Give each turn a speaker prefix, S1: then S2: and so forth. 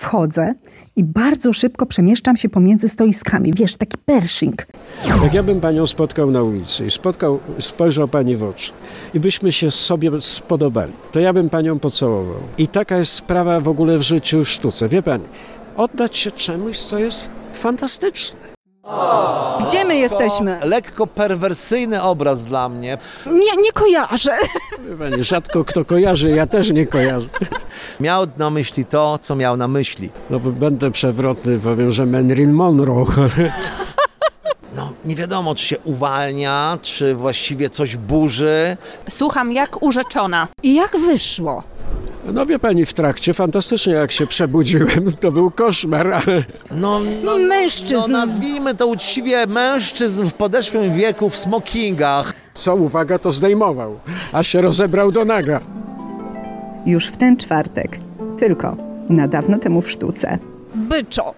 S1: wchodzę i bardzo szybko przemieszczam się pomiędzy stoiskami. Wiesz, taki pershing.
S2: Jak ja bym panią spotkał na ulicy i spotkał, spojrzał pani w oczy i byśmy się sobie spodobali, to ja bym panią pocałował. I taka jest sprawa w ogóle w życiu, w sztuce. Wie pani, oddać się czemuś, co jest fantastyczne.
S3: Gdzie my jesteśmy?
S4: To lekko perwersyjny obraz dla mnie.
S3: Nie, nie kojarzę.
S2: Wie pani, rzadko kto kojarzy, ja też nie kojarzę.
S4: Miał na myśli to, co miał na myśli.
S2: No bo będę przewrotny, powiem, że Marilyn Monroe. ale-
S4: No, nie wiadomo, czy się uwalnia, czy właściwie coś burzy.
S5: Słucham jak urzeczona.
S3: I jak wyszło?
S2: No wie pani, w trakcie fantastycznie jak się przebudziłem, to był koszmar, ale...
S4: No, no,
S3: mężczyzn.
S4: No, nazwijmy to uczciwie mężczyzn w podeszłym wieku w smokingach.
S2: Co uwaga, to zdejmował, a się rozebrał do naga.
S1: Już w ten czwartek. Tylko na dawno temu w sztuce.
S3: Byczo.